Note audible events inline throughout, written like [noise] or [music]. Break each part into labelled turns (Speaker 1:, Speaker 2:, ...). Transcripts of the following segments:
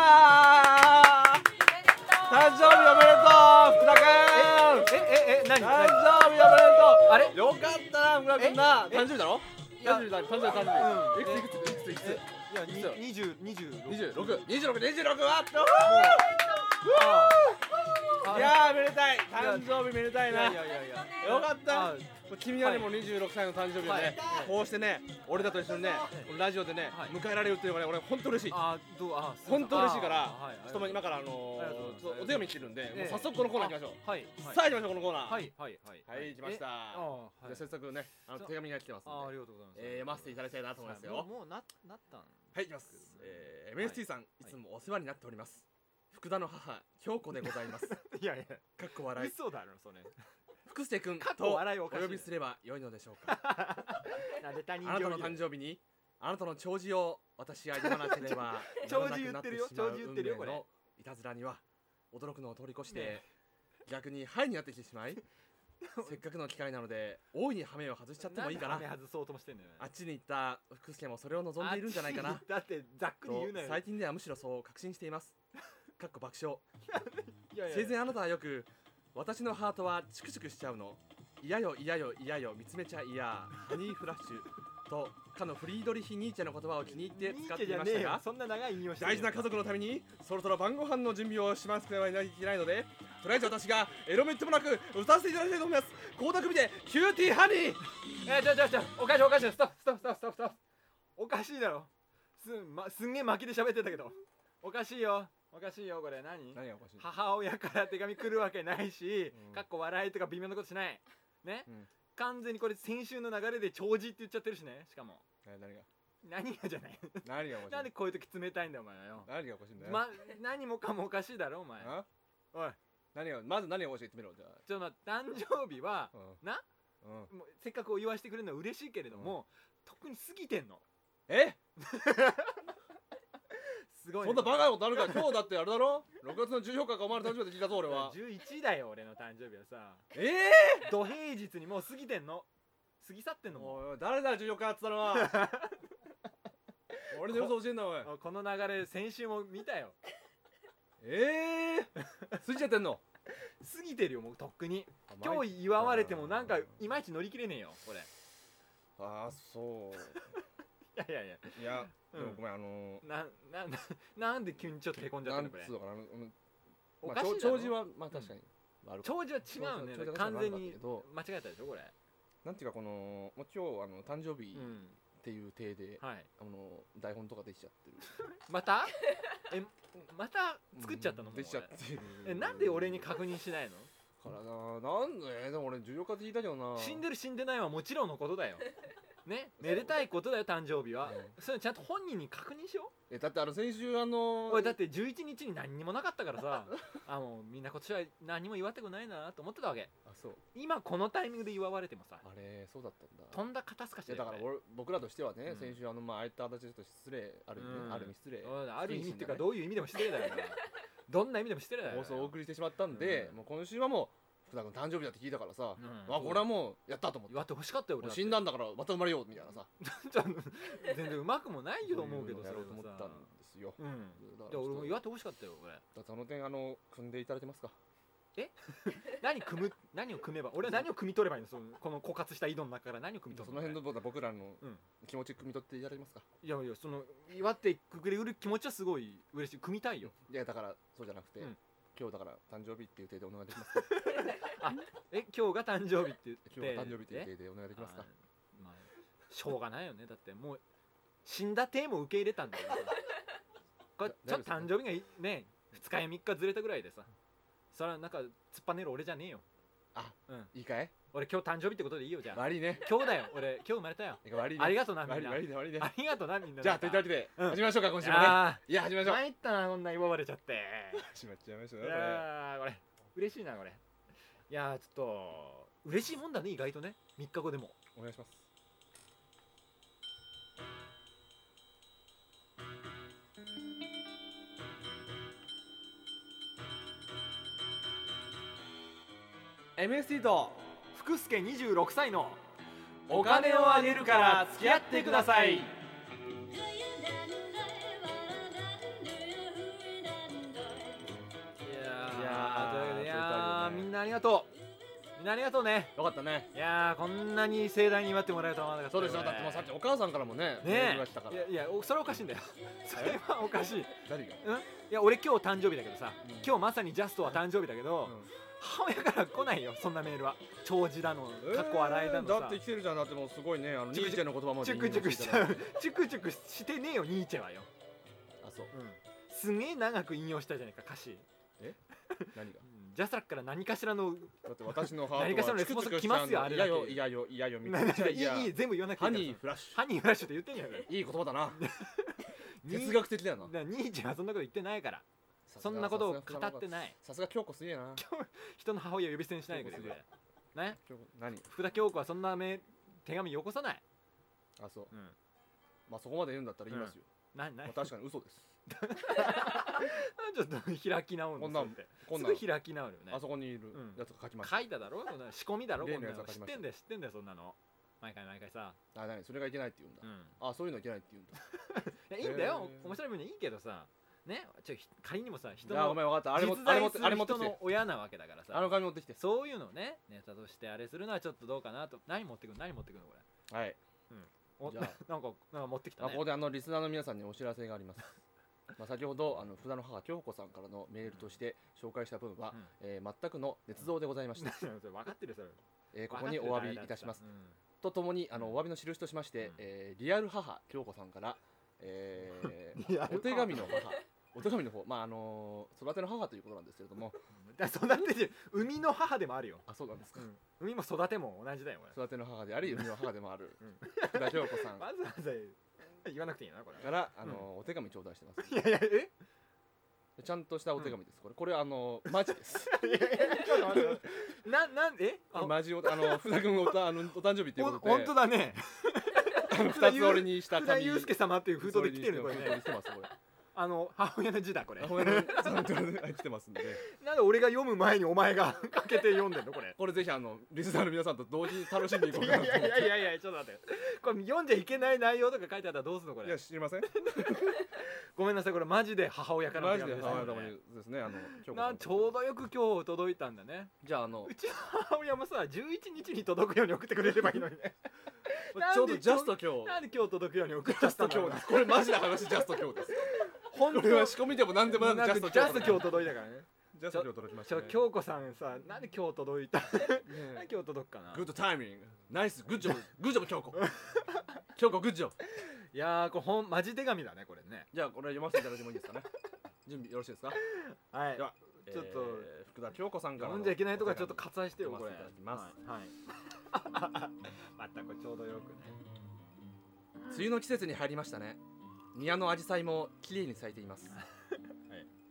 Speaker 1: わー誕生日おめでとう福田君
Speaker 2: えええ何
Speaker 1: 誕
Speaker 2: 何
Speaker 1: 生日おめでとう
Speaker 2: あれ
Speaker 1: よかったな福田君な
Speaker 2: え
Speaker 1: 誕生日だろ
Speaker 2: いや
Speaker 1: 誕生日だ誕生日誕生日い
Speaker 2: うん
Speaker 1: くついくついくついくつ
Speaker 2: いやに
Speaker 1: そう
Speaker 2: 二十二十六
Speaker 1: 二十六、二十六、二十六は。
Speaker 2: あ
Speaker 1: いやー、めでたい、誕生日めでたい
Speaker 2: い
Speaker 1: な。
Speaker 2: やい
Speaker 1: よ
Speaker 2: やいやいや
Speaker 1: かった
Speaker 2: あ。
Speaker 1: 君はね、もう二十六歳の誕生日を
Speaker 2: は
Speaker 1: ね
Speaker 2: い、
Speaker 1: こうしてね、俺らと一緒にね、このラジオでね
Speaker 2: はい、
Speaker 1: 迎えられるっていうのがね、俺本当嬉しい。
Speaker 2: あどうあ
Speaker 1: 本当嬉しいから
Speaker 2: あはい、
Speaker 1: ちょっともう今からあの
Speaker 2: ありがとうございます
Speaker 1: ー、お手紙来てるんで、もう
Speaker 2: ええ
Speaker 1: 早速このコーナー行きましょ
Speaker 2: はい、
Speaker 1: う。さあ、行きましょう、このコーナー。
Speaker 2: はいはいはい
Speaker 1: はい、来ました。じ
Speaker 2: えあ
Speaker 1: ゃ
Speaker 2: あはい
Speaker 1: あ、早速ね、あの
Speaker 2: そう
Speaker 1: 手紙が来てますんで。
Speaker 2: あありがとうございます
Speaker 1: えー読ませていただきたいなと思いますよ
Speaker 2: もうもうななったん
Speaker 1: はい、いきます。えー MST さん、いつもお世話になっております。福田の母、京子でござ
Speaker 2: [laughs]
Speaker 1: います。か
Speaker 2: いやい
Speaker 1: っこ笑
Speaker 2: や
Speaker 1: い。
Speaker 2: 嘘だろそれ
Speaker 1: 福瀬
Speaker 2: [laughs]
Speaker 1: 君
Speaker 2: 過去
Speaker 1: とお
Speaker 2: 笑いおかしい
Speaker 1: 呼びすれば良いのでしょうか
Speaker 2: なんで他
Speaker 1: あ
Speaker 2: 人
Speaker 1: なたの誕生日にあなたの弔辞を私が読まなければ
Speaker 2: ち [laughs] ょ弔辞言ってるよ
Speaker 1: ならなくな
Speaker 2: 弔辞言ってるよ
Speaker 1: し
Speaker 2: こ
Speaker 1: まう
Speaker 2: れ
Speaker 1: 運命のいたずらには驚くのを通り越して、
Speaker 2: ね
Speaker 1: 逆にハイになってきてし
Speaker 2: [laughs]
Speaker 1: まいせっかくの機会なので大いに羽目を外しちゃってもいいかな
Speaker 2: なんで羽目外そうともしてんだよね
Speaker 1: あっちに行った福助もそれを望んでいるんじゃないか
Speaker 2: あっ
Speaker 1: な
Speaker 2: ちだってざっくり
Speaker 1: と
Speaker 2: 言うなよ
Speaker 1: 最近ではむしろそう確信していますかっこ爆笑
Speaker 2: いやいや
Speaker 1: 生前あなたはよく私のハートはチクチクしちゃうの嫌よ嫌よ嫌よ見つめちゃ嫌ハニーフラッシュとかのフリードリヒ・ニーチェの言葉を気に入って使って
Speaker 2: ニーチェ
Speaker 1: いまし
Speaker 2: じ
Speaker 1: た
Speaker 2: ゃねえよ
Speaker 1: が
Speaker 2: そんな長い引用して
Speaker 1: 大事な家族のためにそろそろ晩ご飯の準備をしますくてはいけないのでとりあえず私がエロメットもなく歌わせていただきたいと思います高田組でキューティーハニー
Speaker 2: えー、ちょちょちょおかしいおかしいストップストップストップストップストップおかしいだろすん,、ま、すんげえ巻きで喋ってたけどおかしいよおかしいよこれ何
Speaker 1: 何がおかしい
Speaker 2: 母親から手紙来るわけないし、
Speaker 1: うん
Speaker 2: かっこ笑いとか微妙なことしないね、
Speaker 1: うん
Speaker 2: 完全にこれ先週の流れで弔辞って言っちゃってるしねしかも
Speaker 1: 何が
Speaker 2: 何がじゃない
Speaker 1: 何がお
Speaker 2: なんでこういう時冷たいんだよお前はよ、
Speaker 1: 何がおかしいん
Speaker 2: ま、何もかもおかしいだろお前おい
Speaker 1: 何がまず何がおかしいってみろじゃ
Speaker 2: ちょっと待って誕生日はな
Speaker 1: うん、
Speaker 2: もうせっかくお祝いしてくれるのは嬉しいけれども、特に過ぎてんの
Speaker 1: え
Speaker 2: すごいね
Speaker 1: そんなバカなことあるから今日だってあれだろ6月の14日かお前の誕生日で聞いたぞ俺は
Speaker 2: 11だよ俺の誕生日はさ
Speaker 1: ええ
Speaker 2: 土平日にもう過ぎてんの過ぎ去ってん
Speaker 1: ー、
Speaker 2: のも
Speaker 1: おいおい誰だ14日っつったの [laughs] は俺の予想教えんなおいう
Speaker 2: この流れ先週も見たよ
Speaker 1: ええー、過ぎちゃってんの
Speaker 2: 過ぎてるよもうとっくに今日祝われてもなんかいまいち乗り切れねえよこれい
Speaker 1: ああそう
Speaker 2: やいやいや
Speaker 1: いや、
Speaker 2: うん
Speaker 1: でもごめんあの
Speaker 2: ななななんで急にちょっとへこん
Speaker 1: ー、
Speaker 2: じゃっ
Speaker 1: な
Speaker 2: た
Speaker 1: ん
Speaker 2: の
Speaker 1: つ
Speaker 2: これ
Speaker 1: うのかな、うん
Speaker 2: お
Speaker 1: ま
Speaker 2: か
Speaker 1: あ
Speaker 2: しいだろ
Speaker 1: 弔辞はまあ確かに、ある
Speaker 2: 長寿は違うね
Speaker 1: 長寿は
Speaker 2: 完全
Speaker 1: 長寿はあるんだ
Speaker 2: に
Speaker 1: けど
Speaker 2: 間違えたでしょこれ
Speaker 1: なんていうかこのもう今日あの誕生日
Speaker 2: う
Speaker 1: っ
Speaker 2: ん
Speaker 1: ていう体で、
Speaker 2: はい
Speaker 1: あの台本とかできちゃってる
Speaker 2: また [laughs] えまた作っちゃったのも
Speaker 1: うん
Speaker 2: う
Speaker 1: できちゃっ
Speaker 2: 俺
Speaker 1: てる
Speaker 2: えなんで俺に確認しないの
Speaker 1: からななんででも俺14日って聞いたけどな
Speaker 2: 死んでる死んでないはもちろんのことだよねめでたいことだよ誕生日は、
Speaker 1: うん
Speaker 2: それちゃんと本人に確認しよ
Speaker 1: えだってあの先週あ
Speaker 2: う、
Speaker 1: の
Speaker 2: 俺だって11日に何にもなかったから
Speaker 1: [laughs]
Speaker 2: さあもうみんな今年は何も祝ってくないなと思ってたわけ
Speaker 1: あそう
Speaker 2: 今このタイミングで祝われてもさ
Speaker 1: あれそうだった
Speaker 2: と
Speaker 1: んだ
Speaker 2: んだ肩透かしだ
Speaker 1: いや
Speaker 2: よ
Speaker 1: だから
Speaker 2: これ
Speaker 1: 俺僕らとしてはね、
Speaker 2: うん
Speaker 1: 先週あのまあああいった形だと失礼ある意味ね、
Speaker 2: うん
Speaker 1: ある意味失礼
Speaker 2: うんある意味っていうか
Speaker 1: 不謹慎だね
Speaker 2: どういう意味でも失礼
Speaker 1: [laughs]
Speaker 2: だよなどんな意味でも失礼だよ
Speaker 1: 放送をお送りしてしまったんで、
Speaker 2: うん
Speaker 1: もう今週はもう福田君誕生日だって聞いたからさ、
Speaker 2: うん
Speaker 1: あこれはもうやったと思って
Speaker 2: 祝ってほしかったよ
Speaker 1: も
Speaker 2: 俺
Speaker 1: う
Speaker 2: だって
Speaker 1: 死んだんだからまた生まれようみたいなさ
Speaker 2: ちょっと全然うまくもないよと思うけど
Speaker 1: そ
Speaker 2: そ
Speaker 1: い
Speaker 2: れは
Speaker 1: のやろうと思った
Speaker 2: さ
Speaker 1: んですよ
Speaker 2: うん
Speaker 1: だ
Speaker 2: じゃあ俺も
Speaker 1: ちょ
Speaker 2: 祝ってほしかったよ俺
Speaker 1: っとその点あの組んでいただけますか
Speaker 2: 何組 [laughs] む何を組めば俺は何を組み取ればいいのそのこの枯渇した井戸の中から何を組み取
Speaker 1: そ
Speaker 2: る
Speaker 1: の辺の僕らの
Speaker 2: うん
Speaker 1: 気持ち汲み取っていただけますか、
Speaker 2: いやいやその祝ってくれる気持ちはすごい嬉しい組みたいよ
Speaker 1: いやだからそうじゃなくて、
Speaker 2: うん
Speaker 1: 今日だから誕生日っていう体でお願いでき [laughs] ますか
Speaker 2: え今日が誕生日って言って
Speaker 1: 今日は誕生日という
Speaker 2: え
Speaker 1: 体でお願いできますか
Speaker 2: あまあしょうがないよねだってもう死んだ手も受け入れた
Speaker 1: [laughs]
Speaker 2: んだよこれちょっと誕生日がいね2日や3日ずれたぐらいでさそれはなんか突っぱねる俺じゃねえよ
Speaker 1: いいかい
Speaker 2: 俺今日誕生日ってことでいいよじゃあ
Speaker 1: 悪いね
Speaker 2: 今日だよ俺今日生まれたよ
Speaker 1: いいか悪いね
Speaker 2: ありがとうなみ
Speaker 1: 悪
Speaker 2: ん
Speaker 1: い
Speaker 2: な
Speaker 1: 悪いね悪いね
Speaker 2: ありがとうなみんな
Speaker 1: じゃあとい
Speaker 2: な
Speaker 1: うん
Speaker 2: か
Speaker 1: わけで
Speaker 2: うん
Speaker 1: 始めましょうか今週もね
Speaker 2: あ
Speaker 1: いや始めましょう
Speaker 2: 参ったなこんな祝われちゃって
Speaker 1: 始めちゃいましょう
Speaker 2: い
Speaker 1: ねこれ
Speaker 2: やーこれ嬉しいなこれいやーちょっと嬉しいもんだね意外とね3日後でも
Speaker 1: お願いします
Speaker 2: エ MST と福助26歳の
Speaker 1: お金をあげるから付き合ってください
Speaker 3: Do you dare, do you dare, do you
Speaker 2: んなありがとうみんなありがとうね
Speaker 1: よかったね
Speaker 2: いやーこんなに盛大に祝ってもらえるとは思わなかった
Speaker 1: そ
Speaker 2: よ
Speaker 1: うでしょだってもうさっきお母さんからもね
Speaker 2: ね
Speaker 1: メー
Speaker 2: え
Speaker 1: ルが来たから
Speaker 2: いやいやおそれはおかしいんだよそれはおかしい
Speaker 1: 誰が
Speaker 2: いや俺今日誕生日だけどさ、
Speaker 1: うん
Speaker 2: 今日まさにジャストは誕生日だけど、母親から来ないよそんなメールは長寿だのかっこ笑いだの
Speaker 1: だ
Speaker 2: さ
Speaker 1: って来てるじゃんだってもうすごいねあのニ
Speaker 2: チク
Speaker 1: ーチェの言葉まで
Speaker 2: チ
Speaker 1: 引用
Speaker 2: ュク
Speaker 1: て
Speaker 2: チュク
Speaker 1: い
Speaker 2: しち
Speaker 1: ただ
Speaker 2: ゃ
Speaker 1: いう
Speaker 2: チュクチュクしてねえよニーチェはよ、
Speaker 1: てあそう
Speaker 2: すげえ長く引用したじゃないか歌詞、
Speaker 1: 何
Speaker 2: う
Speaker 1: が
Speaker 2: んジャスラックから何かしらの
Speaker 1: だって私のハー
Speaker 2: 何
Speaker 1: ト
Speaker 2: かし
Speaker 1: は
Speaker 2: らのレ
Speaker 1: チ
Speaker 2: スポ
Speaker 1: クチ
Speaker 2: ン
Speaker 1: ク
Speaker 2: ス
Speaker 1: し
Speaker 2: 来
Speaker 1: ちゃ
Speaker 2: ま
Speaker 1: う
Speaker 2: すよ
Speaker 1: の
Speaker 2: あれ
Speaker 1: い
Speaker 2: だ
Speaker 1: や
Speaker 2: け
Speaker 1: よいやよいやよ
Speaker 2: [laughs] い
Speaker 1: みたいないや
Speaker 2: いいい全部言わなくて
Speaker 1: ハ
Speaker 2: いい
Speaker 1: ニ
Speaker 2: から
Speaker 1: ーフラッシ
Speaker 2: ハニーフラッシュって言ってんじゃない
Speaker 1: ュいい言葉
Speaker 2: [laughs]
Speaker 1: だな
Speaker 2: ニー
Speaker 1: 哲学的だよな
Speaker 2: だからニーチェはそんなこと言ってないから
Speaker 1: さす
Speaker 2: そ
Speaker 1: が
Speaker 2: んなことを
Speaker 1: さすが
Speaker 2: 語ってない
Speaker 1: さすが京子すげえな
Speaker 2: 人の母親を呼び捨てにしないでくれ
Speaker 1: そうで
Speaker 2: ね
Speaker 1: 京子何
Speaker 2: 福田京子はそんなメ手紙よこさない、
Speaker 1: あそう
Speaker 2: うん、
Speaker 1: まあそこまで言うんだったら言いますよ
Speaker 2: なな
Speaker 1: まあ
Speaker 2: な
Speaker 1: 確かに嘘です
Speaker 2: [laughs] ちょっと開き直るの
Speaker 1: こんな
Speaker 2: そ
Speaker 1: ん
Speaker 2: れって
Speaker 1: こん
Speaker 2: す
Speaker 1: なん
Speaker 2: ぐ開き直るよね
Speaker 1: あそこにいる
Speaker 2: うん
Speaker 1: やつが書きました
Speaker 2: 書いただろそんな仕込みだろこ
Speaker 1: 例
Speaker 2: ん
Speaker 1: の
Speaker 2: な
Speaker 1: やつ
Speaker 2: の
Speaker 1: は書
Speaker 2: 知
Speaker 1: き
Speaker 2: っ
Speaker 1: ましてた
Speaker 2: んだよ知ってんだよそんなの毎回毎回さ、
Speaker 1: あ何それがいけないって言うんだ
Speaker 2: うん、
Speaker 1: あそういうのいけないって言うんだ
Speaker 2: いやいいんだよ、
Speaker 1: へー
Speaker 2: 面白い分にはいいけどさねちょひ仮にもさ人
Speaker 1: じゃあ
Speaker 2: の
Speaker 1: ごめん分かったあれも
Speaker 2: 実
Speaker 1: あれ
Speaker 2: 在
Speaker 1: も
Speaker 2: す
Speaker 1: あれ
Speaker 2: る
Speaker 1: 持って
Speaker 2: 人
Speaker 1: きて
Speaker 2: の親なわけだから
Speaker 1: あの
Speaker 2: さ
Speaker 1: 紙持ってきて
Speaker 2: そういうのをねネタとしてあれするのはちょっとどうかなと何持ってくの何持ってくのこれ
Speaker 1: はい
Speaker 2: お [laughs]
Speaker 1: じ
Speaker 2: なん
Speaker 1: ゃあ
Speaker 2: かなんか持ってきた
Speaker 1: まあ
Speaker 2: ね
Speaker 1: ここであのリスナーの皆さんにお知らせがあ
Speaker 2: [laughs]
Speaker 1: りますまあ先ほどあの札の母京子さんからのメールとして紹介した分は、
Speaker 2: うん
Speaker 1: えー全くの捏造でございました、
Speaker 2: [laughs] それ分かってるよそれ
Speaker 1: えーここにお詫びいたします、
Speaker 2: う
Speaker 1: とともにあのお詫びの印としまして、
Speaker 2: うん
Speaker 1: えーリアル母京子さんから、えー
Speaker 2: リアル母 [laughs]
Speaker 1: お手紙の母お手紙の方まああのー育ての母ということなんですけれども
Speaker 2: んだから育ててる生みの母で [laughs] もあるよ、
Speaker 1: あそうなんですか
Speaker 2: 生みも育ても同じだよこれ
Speaker 1: 育ての母であり生みの母でもある
Speaker 2: うん
Speaker 1: 福田京子さん
Speaker 2: わざわざ言わなくていいなこれ
Speaker 1: からあのーお手紙頂戴してま
Speaker 2: [laughs]
Speaker 1: す
Speaker 2: いやいやえ
Speaker 1: [laughs] ちゃんとしたお手紙ですこれこれあのーマジです
Speaker 2: いやいやちょっと待って待ってななんえ [laughs] あ
Speaker 1: これマジおあの福田君おたあのお誕生日っていう
Speaker 2: ほん
Speaker 1: ことで
Speaker 2: 本当だね
Speaker 1: あの [laughs] 二つ折りにした
Speaker 2: 福田
Speaker 1: 紙
Speaker 2: 祐介様っていう封筒で来てるね
Speaker 1: そ
Speaker 2: こ
Speaker 1: れ
Speaker 2: れ
Speaker 1: に
Speaker 2: ね
Speaker 1: 来てますこれ
Speaker 2: あの母親の字だこれ
Speaker 1: あごめんなさいちゃんと来てますんで
Speaker 2: なんで俺が読む前にお前が [laughs] かけて読んでんのこれ
Speaker 1: これぜひあのリスナーの皆さんと同時に楽しんでいこう
Speaker 2: い
Speaker 1: か
Speaker 2: や
Speaker 1: ない
Speaker 2: や
Speaker 1: と
Speaker 2: いやいやいやちょっと待ってこれ読んじゃいけない内容とか書いてあったらどうすんのこ
Speaker 1: いや
Speaker 2: れ
Speaker 1: 知りません
Speaker 2: ごめんなさいこれマジで母親からの
Speaker 1: マ
Speaker 2: 手紙です、
Speaker 1: ジで
Speaker 2: ね、
Speaker 1: 母親の方にですねあの京子さ
Speaker 2: なんちょうどよく今日届いたんだね
Speaker 1: じゃああの
Speaker 2: うちの母親もさ11日に届くように送ってくれればいいのに [laughs] ねなんで
Speaker 1: ちょうどジャスト今日
Speaker 2: なんで今日届くように送っち
Speaker 1: ジ
Speaker 2: ゃ
Speaker 1: ャ
Speaker 2: っ
Speaker 1: ス
Speaker 2: た
Speaker 1: ト
Speaker 2: んだろう
Speaker 1: 今日ですこれマジな話ジャスト今日です
Speaker 2: 本
Speaker 1: こ
Speaker 2: 当
Speaker 1: れは仕込みでも何でもな
Speaker 2: な
Speaker 1: く
Speaker 2: んか
Speaker 1: ジャスト
Speaker 2: ジャ
Speaker 1: 今
Speaker 2: ス
Speaker 1: 日
Speaker 2: ト
Speaker 1: です
Speaker 2: 今日届いたからね
Speaker 1: ジャスト今日届きまし
Speaker 2: ち
Speaker 1: た
Speaker 2: ょ
Speaker 1: ね
Speaker 2: 京子さんさなんで今日届いたなん
Speaker 1: ね
Speaker 2: で今日届くかな
Speaker 1: グッドタイミングナイスグッジョブグッジョブ京子京子グッジョブ
Speaker 2: いやーこれほんマジ手紙だねこれね
Speaker 1: じゃあこれ読ませていただいてもいいですかね準備よろしいですか
Speaker 2: はい
Speaker 1: では
Speaker 2: ちょっと
Speaker 1: えー福田京子さんから
Speaker 2: 読
Speaker 1: の
Speaker 2: んじゃいけないとかちょっと
Speaker 1: お手
Speaker 2: 割愛してよこれ
Speaker 1: 読ませていただき
Speaker 2: はい、はい、またこれちょうどよくね
Speaker 1: 紙梅雨の季節に入りましたね庭の紫陽花も綺麗に咲いています、
Speaker 2: い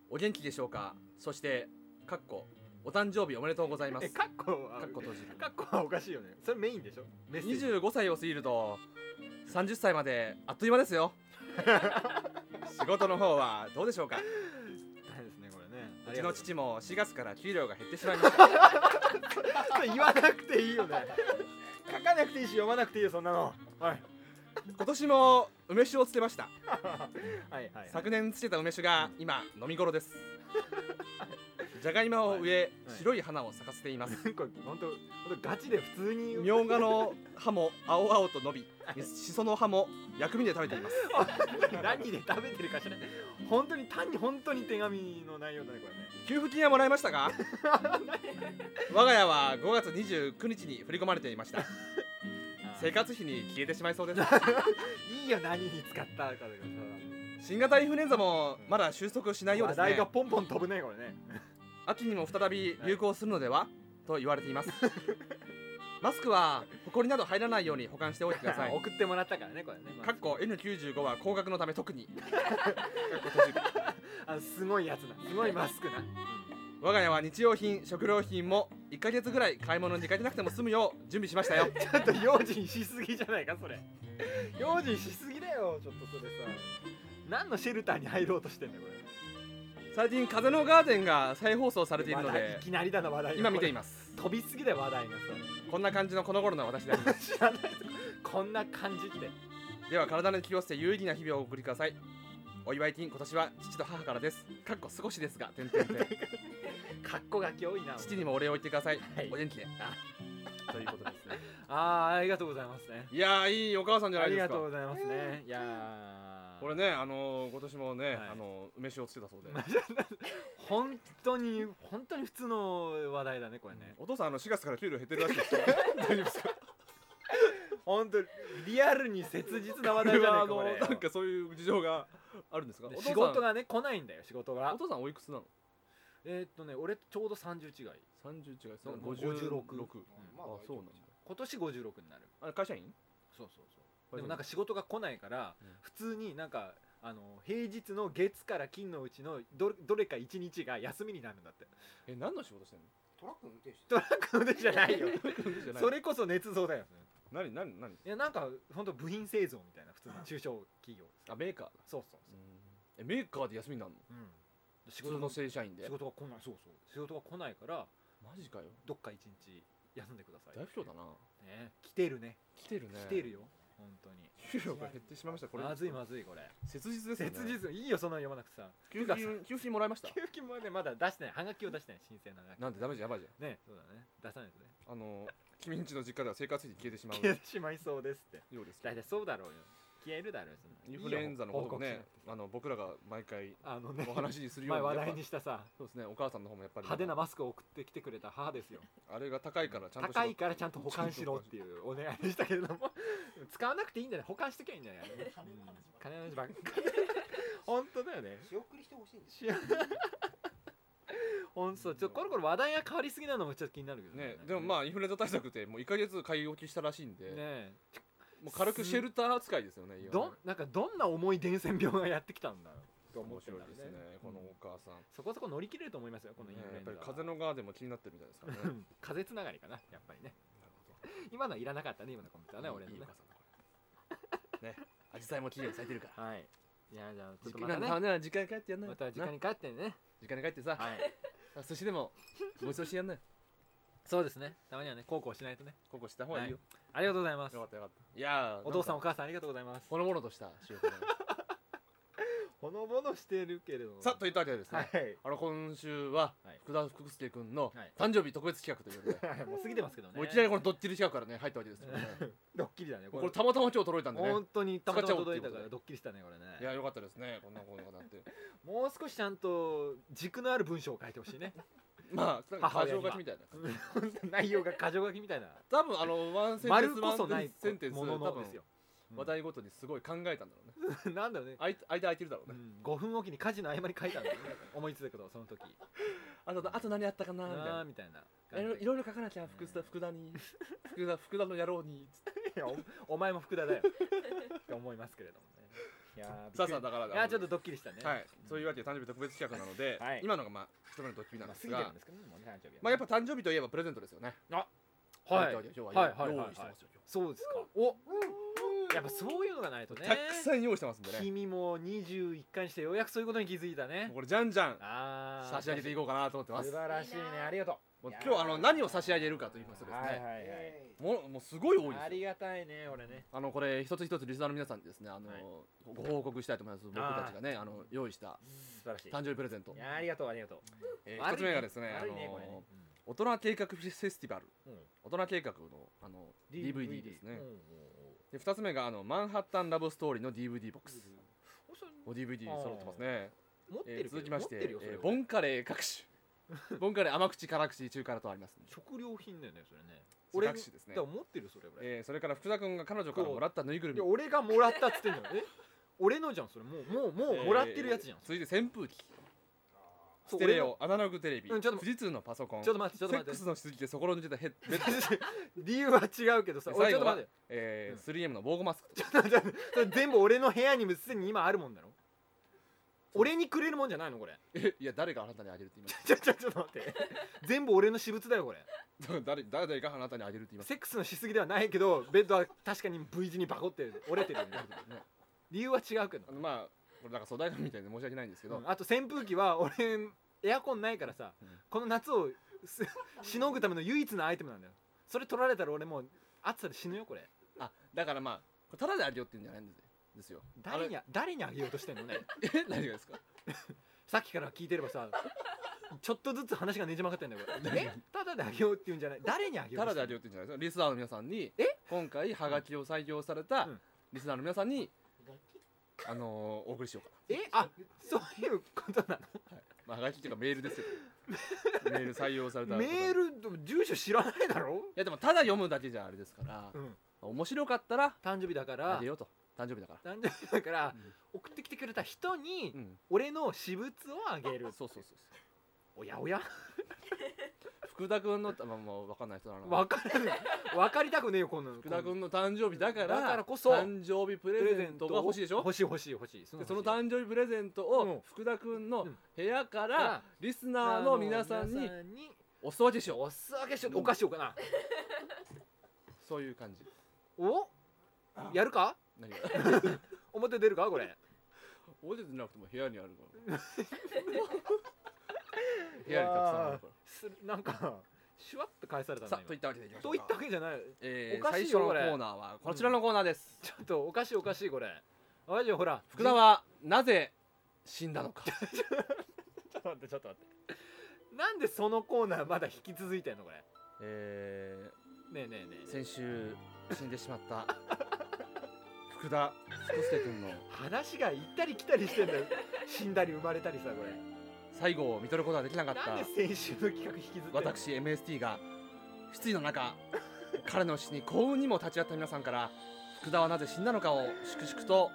Speaker 1: お元気でしょうかそしてかっこお誕生日おめでとうございます
Speaker 2: えカ
Speaker 1: か
Speaker 2: ッコは
Speaker 1: っこ閉じる
Speaker 2: カッコはおかしいよねそれメインでしょメッセージ
Speaker 1: 25歳を過ぎると30歳まであっという間で
Speaker 2: [laughs]
Speaker 1: すよ仕事の方はどうでしょうか
Speaker 2: 大変ですねこれね
Speaker 1: うちの父も4月から給料が減ってしまいました
Speaker 2: それ言わなくていいよね書かなくていいし読まなくていいよそんなのはい
Speaker 1: 今年も梅酒をつけました
Speaker 2: はいはい
Speaker 1: 昨年つけた梅酒が今飲み頃です
Speaker 2: [laughs]
Speaker 1: じゃがいもを植え、
Speaker 2: はい
Speaker 1: 白い花を咲かせています
Speaker 2: これ本当本当ガチで普通に
Speaker 1: みょうがの葉も青々と伸びしその葉も薬味で食べています
Speaker 2: [laughs] 何で食べてるかしらない本当に単に本当に手紙の内容だねこれね
Speaker 1: 給付金はもらいましたか [laughs] 我が家は5月29日に振り込まれていました生活費に消えてしまいそ
Speaker 2: [laughs]
Speaker 1: うです
Speaker 2: いいよ何に使ったかとかさ
Speaker 1: 新型インフルエンザもまだ収束しないよう
Speaker 2: 話
Speaker 1: です
Speaker 2: 題
Speaker 1: ね
Speaker 2: がポンポン飛ぶねこれね
Speaker 1: 秋にも再び流行するのではと言われてい [laughs] ますマスクは埃など入らないように保管しておいてください
Speaker 2: [laughs] 送ってもらったからねこれね
Speaker 1: かっこ N95 は高額のため [laughs] 特にかっこ閉じる
Speaker 2: あのすごいやつなすごいマスクな
Speaker 1: 我が家は日用品食料品も1ヶ月ぐらい買い物に出かけなくても済むよう準備しましたよ [laughs]
Speaker 2: ちょっと用心しすぎじゃないかそれ用心しすぎだよちょっとそれさ何のシェルターに入ろうとしてんだよこ
Speaker 1: 最近「風のガーデン」が再放送されて
Speaker 2: れ
Speaker 1: いるの
Speaker 2: 話題
Speaker 1: で
Speaker 2: いきなりだな話題が
Speaker 1: 今見てい
Speaker 2: こ
Speaker 1: ます
Speaker 2: れ飛びすぎだよ話題が
Speaker 1: こんな感じのこの頃の私であります
Speaker 2: さ知らないこんな感じって
Speaker 1: では体に気をつけて有意義な日々をお送りくださいおお祝い金今年は父と母からですかっこ少しですが点々点
Speaker 2: かっこがき多いな
Speaker 1: 父にもお礼を言ってください、
Speaker 2: はい
Speaker 1: お元気であということですね
Speaker 2: あーありがとうございますね
Speaker 1: いやーいいお母さんじゃ
Speaker 2: あ
Speaker 1: ない
Speaker 2: り
Speaker 1: です
Speaker 2: が
Speaker 1: か
Speaker 2: とうございますねいやー
Speaker 1: これねあのー今年もね、
Speaker 2: はい
Speaker 1: あのー梅酒をつけたそうで、
Speaker 2: 本当に本当に普通の話題だねこれね
Speaker 1: お父さんあの4月から給料減ってるらしいで
Speaker 2: [laughs]
Speaker 1: すよ大丈夫ですか
Speaker 2: 本当リアルに切実な話
Speaker 1: これ
Speaker 2: 題じゃねえか
Speaker 1: はあ
Speaker 2: こ
Speaker 1: の
Speaker 2: [laughs] れ
Speaker 1: なんかそういう事情があるんですか
Speaker 2: で
Speaker 1: お父さん
Speaker 2: 仕事がね来ないんだよ仕事が
Speaker 1: お父さんおいくつなの
Speaker 2: えーっとね俺ちょうど30違い
Speaker 1: 30違い
Speaker 2: そう
Speaker 1: 56
Speaker 2: 56
Speaker 1: あそうなんだ
Speaker 2: 今年56になる
Speaker 1: あ会社員
Speaker 2: そうそうそうでもなんか仕事が来ないから、
Speaker 1: うん
Speaker 2: 普通になんかあの平日の月から金のうちのどどれか1日が休みになるんだって
Speaker 1: え何の仕事してんの
Speaker 3: トラック運転手
Speaker 2: トラックの腕じゃないよ
Speaker 1: [laughs] じゃ
Speaker 2: [laughs]
Speaker 1: ない
Speaker 2: それこそ捏造だよね
Speaker 1: 何何何
Speaker 2: いやなんか本当部品製造みたいな普通の中小企業
Speaker 1: あメーカーだ
Speaker 2: そうそう
Speaker 1: えメーカーで休みになるの
Speaker 2: そう、うん、仕
Speaker 1: 仕事
Speaker 2: 事
Speaker 1: の
Speaker 2: の
Speaker 1: 正社員で
Speaker 2: 仕事が来ないそうそう仕事が来ないから
Speaker 1: マジかよ
Speaker 2: どっか一日休んでください
Speaker 1: 大不況だな
Speaker 2: ね来てるね
Speaker 1: 来てるね
Speaker 2: 来てるよ本当に
Speaker 1: 給料が減ってしまいましたこれ
Speaker 2: まずいまずいこれ
Speaker 1: 切実ですね
Speaker 2: 切実いいよそんなの読まなくてさ
Speaker 1: 給付金給付金もらいました
Speaker 2: 給付金もねまだ出してないはがきを出してない申請のはが
Speaker 1: なんでダメじゃんやばいじ
Speaker 2: きねそうだね出さないとね
Speaker 1: ゃんあの君んちの実家では生活費消えてしまう
Speaker 2: 消えてしまいそうですって
Speaker 1: ようですけ
Speaker 2: 大
Speaker 1: ど
Speaker 2: 体そうだろうよ消えるだろうよそんな
Speaker 1: インフルエンザのことも
Speaker 2: いい
Speaker 1: ね
Speaker 2: よ報告しなくて
Speaker 1: あの僕らが毎回
Speaker 2: あのね
Speaker 1: お話にするよう
Speaker 2: 前話
Speaker 1: にやっぱ
Speaker 2: 題にしたさ
Speaker 1: そうですねお母さんの方もやっぱり
Speaker 2: 派手なマスクを送ってきてくれた母ですよ
Speaker 1: あれが高いからちゃんとしろ
Speaker 2: 高いからちゃんと保管しろっていうお願いでしたけれども [laughs] 使わなくていいんだよ保管しときゃいいんだよ、ね、うん金の話ばっかり [laughs] 本当だよね
Speaker 3: 仕送りしてほしいんですよ
Speaker 2: し [laughs] 本当ちょっとコロコロ話題が変わりすぎなのもちょっと気になるけど
Speaker 1: ねでもまあインフルエンザ対策ってもう1か月買い置きしたらしいんで、
Speaker 2: ねえ
Speaker 1: もう軽くシェルター扱いですよねいや
Speaker 2: どんなんかどんな重い伝染病がやってきたんだろうと思
Speaker 1: 面
Speaker 2: って
Speaker 1: 白
Speaker 2: る
Speaker 1: い
Speaker 2: んだろ
Speaker 1: で
Speaker 2: う
Speaker 1: すねこのお母さん、
Speaker 2: そこそこ乗り切れると思いますよこのイン
Speaker 1: ね
Speaker 2: フル
Speaker 1: や
Speaker 2: エン
Speaker 1: っぱ
Speaker 2: ザは
Speaker 1: り風の側でも気になってるみたいですからね
Speaker 2: [laughs] うん風つながりかなやっぱりね今のはいらなかったね今のコメントはね俺の
Speaker 1: いい
Speaker 2: ね
Speaker 1: お母さんだこれねアジサイも綺麗に咲いてるから
Speaker 2: はいいやじゃあちょっ
Speaker 1: 時
Speaker 2: と
Speaker 1: 間
Speaker 2: ま
Speaker 1: な
Speaker 2: た
Speaker 1: ん
Speaker 2: ね
Speaker 1: だからね時間に帰ってやんない
Speaker 2: また時間
Speaker 1: に
Speaker 2: に帰ってね
Speaker 1: 時間に帰ってさ、
Speaker 2: はい
Speaker 1: 寿司でもごちそうしてやんない
Speaker 2: そうですねたまにはね孝行しないとね
Speaker 1: ここした方がいいよ、
Speaker 2: ありがとうございます
Speaker 1: よかったよかったいやー
Speaker 2: お父さん
Speaker 1: な
Speaker 2: お
Speaker 1: か
Speaker 2: 母さんありがとうございます
Speaker 1: ほのぼのとした収録だね
Speaker 2: ほのぼのしてるけれ [laughs] ども
Speaker 1: さあといったわけでですね、
Speaker 2: はい
Speaker 1: あの今週は
Speaker 2: はい
Speaker 1: 福田福助君の
Speaker 2: はい
Speaker 1: 誕生日特別企画ということで、
Speaker 2: もう過ぎてます [laughs] けどね
Speaker 1: もういきなりこのドッキリ企画からね入ったわ
Speaker 2: [laughs]
Speaker 1: けですけどね
Speaker 2: ドッキリだね
Speaker 1: これたまたま今日届いたんでね
Speaker 2: 本当にたまたま届いたか
Speaker 1: 使っちゃおうっていうことで
Speaker 2: らドッキリしたねこれ
Speaker 1: い
Speaker 2: ね
Speaker 1: やよかったですねこんなことにな
Speaker 2: [laughs]
Speaker 1: って
Speaker 2: もう少しちゃんと軸のある文章を書いてほしいね
Speaker 1: まあなんか
Speaker 2: 母親
Speaker 1: 過剰
Speaker 2: には
Speaker 1: 書きみたいな
Speaker 2: [laughs] 本当内容が箇条書きみた [laughs] いな
Speaker 1: 多分あのワンセンテ
Speaker 2: 丸
Speaker 1: ンス
Speaker 2: こそ
Speaker 1: ワ
Speaker 2: な
Speaker 1: ン
Speaker 2: い
Speaker 1: センテンス
Speaker 2: もの
Speaker 1: 多
Speaker 2: の
Speaker 1: 分
Speaker 2: ですよ
Speaker 1: 話題ごとにすごい考えたんだろ
Speaker 2: [laughs]
Speaker 1: うね
Speaker 2: うんなんだろうね
Speaker 1: あい間空いてるだろう
Speaker 2: う
Speaker 1: ね
Speaker 2: ん5分おきに家事の合間に書いたんだよね思いついたことをその時
Speaker 1: あとあと何あったかなみた
Speaker 2: な
Speaker 1: いな
Speaker 2: あみたいない
Speaker 1: ろいろいろ書かなきゃ福田
Speaker 2: うん
Speaker 1: 福
Speaker 2: [laughs]
Speaker 1: 田に福田福田の野郎に
Speaker 2: いやおお前も福田だよって思いますけれどもねいやーびっくり
Speaker 1: さあさあだから
Speaker 2: いやーちょっとドッキリしたね
Speaker 1: はいそういうわけで誕生日特別企画なので
Speaker 2: はい
Speaker 1: 今のがまあ一目のドッキリなん
Speaker 2: まあ過ぎて
Speaker 1: です
Speaker 2: る
Speaker 1: が
Speaker 2: んですけどねもうね誕生日は
Speaker 1: まあやっぱ誕生日といえばプレゼントですよね
Speaker 2: はい
Speaker 1: 今日
Speaker 2: は
Speaker 1: は
Speaker 2: いはいはい
Speaker 1: 用
Speaker 2: はい
Speaker 1: 意してますよ今
Speaker 2: そうですかおやっぱそういうのがないとね
Speaker 1: 日たくさん用意してますんでね
Speaker 2: 君も21回にしてようやくそういうことに気づいたね
Speaker 1: もうこれじゃんじゃん
Speaker 2: ああ
Speaker 1: 差し上げていこうかなと思ってます
Speaker 2: 素晴らしいねありがとう
Speaker 1: もう
Speaker 3: いやー
Speaker 1: 今日あの何を差し上げるかということですね、
Speaker 2: はいはいはい
Speaker 3: えー
Speaker 1: もうもうすごい多い
Speaker 2: あ
Speaker 1: です
Speaker 2: り
Speaker 1: よ
Speaker 2: がたいね俺ね
Speaker 1: あのこれ一つ一つリスナーの皆さんにですねあの、
Speaker 2: はい
Speaker 1: ご報告したいと思います僕
Speaker 2: あー
Speaker 1: たちがねあの用意した
Speaker 2: 素晴らしい
Speaker 1: 誕生日プレゼント
Speaker 2: い、やありがとうありがとう
Speaker 1: えー
Speaker 2: 悪い
Speaker 1: 一つ目がですねあ
Speaker 2: 悪い
Speaker 1: の
Speaker 2: ねこれね
Speaker 1: 大人計画フェスティバル
Speaker 2: うんうん
Speaker 1: 大人計画のあの DVD ですね
Speaker 2: うんうんうん
Speaker 1: で二つ目があのマンハッタンラブストーリーの DVD ボックス
Speaker 2: おそれ
Speaker 1: お DVD 揃ってますね、
Speaker 2: 持ってる
Speaker 1: え
Speaker 2: け
Speaker 1: ー
Speaker 2: ど
Speaker 1: 続きまして
Speaker 2: 持ってるよそれ
Speaker 1: え
Speaker 2: は
Speaker 1: ーボンカレー
Speaker 2: [laughs]
Speaker 1: 各種ボンカレー甘口辛口中辛とありますんで
Speaker 2: 食料品だよねそれね
Speaker 1: そう
Speaker 2: 俺
Speaker 1: 各種ですね
Speaker 2: だから持ってるよそれ俺
Speaker 1: えーそれから福田君が彼女からもらったぬいぐる
Speaker 2: い
Speaker 1: み
Speaker 2: や俺がもらったっつってんじゃんえ俺のじゃんそれもうもうもうもらってるやつじゃん、
Speaker 1: えー続いて扇風機
Speaker 2: そ
Speaker 1: ス
Speaker 2: う
Speaker 1: テレ
Speaker 2: 俺の
Speaker 1: オアナログテレビ、
Speaker 2: うんちょっと
Speaker 1: 富士通のパソコン
Speaker 2: ちょっと待ってちょっと待
Speaker 1: セック
Speaker 2: って
Speaker 1: スのしすぎてそこの抜け
Speaker 2: [laughs]
Speaker 1: たヘッベッド
Speaker 2: 理由は違うけどさ
Speaker 1: で
Speaker 2: 俺
Speaker 1: 最
Speaker 2: ちょっ
Speaker 1: 後
Speaker 2: と
Speaker 1: は
Speaker 2: 待って、
Speaker 1: えー 3M の防護マス
Speaker 2: [laughs]
Speaker 1: ク
Speaker 2: ちょっと待ってそれ全部俺の部屋にもすでに今あるもんだろ俺にくれるもんじゃないのこれ
Speaker 1: えいや誰があなたにあげるって言いま
Speaker 2: ちょちょちょっと待って全部俺の私物だよこれ
Speaker 1: す [laughs] 誰誰があなたにあげるって言います [laughs]
Speaker 2: セックスのしすぎではないけどベッドは確かに V 字にバコって折れてるよね
Speaker 1: ね
Speaker 2: 理由は違うけど
Speaker 1: あのまあこれなんか粗大ゴミみたいで申し訳ないんですけど、
Speaker 2: うんあと扇風機は [laughs] 俺エアコンないからさ、
Speaker 1: うん
Speaker 2: この夏をす [laughs] しのぐための唯一のアイテムなんだよそれ取られたら俺もう暑さで死ぬよこれ
Speaker 1: あだからまあこれタダであげようって言うんじゃないんですよですよ
Speaker 2: 誰に
Speaker 1: あ
Speaker 2: あ誰にあげようとしてんのね [laughs]
Speaker 1: れ [laughs] え何がですか
Speaker 2: さっきから聞いてればさちょっとずつ話がねじ曲がってんだよこ
Speaker 1: [laughs]
Speaker 2: れえただであげようって言うんじゃない誰にあげよ
Speaker 1: タ
Speaker 2: うと
Speaker 1: ラ
Speaker 2: してんの
Speaker 1: であげようって言うんじゃないですかリスナーの皆さんに
Speaker 2: え
Speaker 1: 今回ハガキを採用された
Speaker 2: うん
Speaker 1: リスナーの皆さんに、
Speaker 3: 楽
Speaker 1: あのーお送りしようか
Speaker 2: えあそういうことな
Speaker 1: な、まあ、ハガキっていうかメール
Speaker 2: [laughs]
Speaker 1: ですよメール採用され [laughs] た
Speaker 2: のメー
Speaker 1: い
Speaker 2: ル住所知らないだろ、
Speaker 1: やでもただ読むだけじゃあれですから、
Speaker 2: うん、
Speaker 1: 面白かったら
Speaker 2: 誕生日だか
Speaker 1: あ
Speaker 2: ら
Speaker 1: げようと誕生日だから
Speaker 2: 誕生日だから
Speaker 1: うん
Speaker 2: 送ってきてくれた人に
Speaker 1: うん
Speaker 2: 俺の私物をあげる
Speaker 1: そうそうそうそう
Speaker 2: おやおや
Speaker 1: 福田君のたまあまあ分かんない人だな
Speaker 2: 分からない分かりたくねえよこんなの
Speaker 1: 福田君の誕生日だから
Speaker 2: だからこそ
Speaker 1: 誕生日プレゼントが欲しいでしょ
Speaker 2: 欲しい欲しい欲しいそ
Speaker 1: でその
Speaker 2: 欲しい
Speaker 1: 誕生日プレゼント
Speaker 2: うん
Speaker 1: を福田君の部屋からリスナーの皆さんに
Speaker 2: 皆さんに
Speaker 1: お裾分けしよ
Speaker 2: おすわけしようお菓子しようかな
Speaker 1: うそういう感じ
Speaker 2: おやるか
Speaker 1: [laughs] 何が
Speaker 2: 表出るかこれ
Speaker 1: おじゃなくても部屋にあるから [laughs] 部屋にたくさんあるか
Speaker 2: すなんかシュワッと返された
Speaker 1: ら
Speaker 2: な
Speaker 1: さ
Speaker 2: 今
Speaker 1: あといったわけでいきましょ
Speaker 2: と
Speaker 1: う
Speaker 2: 言った
Speaker 1: か
Speaker 2: わけじゃない
Speaker 1: え
Speaker 2: お
Speaker 1: ー
Speaker 2: かしい
Speaker 1: 最
Speaker 2: よ
Speaker 1: 初のコ
Speaker 2: これ
Speaker 1: ーナーはこちらのコーナーです
Speaker 2: ちょっとおかしいおかしいこれあじゃあほら
Speaker 1: 福田はなぜ死んだのか
Speaker 2: ちょっと待ってちょっと待ってなんでそのコーナーまだ引き続いてんのこれ
Speaker 1: えー
Speaker 2: ねえねえねえ
Speaker 1: 先週死んでしまった [laughs] 福田福助君の
Speaker 2: 話が行ったり来たりしてんだよ死んだり生まれたりさこれ
Speaker 1: 最後を見とることはできなかっ
Speaker 2: なんで
Speaker 1: た
Speaker 2: 先週の企画引きずってんの
Speaker 1: 私 MST が失意の中彼の死に幸運にも立ち会った皆さんから福田はなぜ死んだのかを粛々と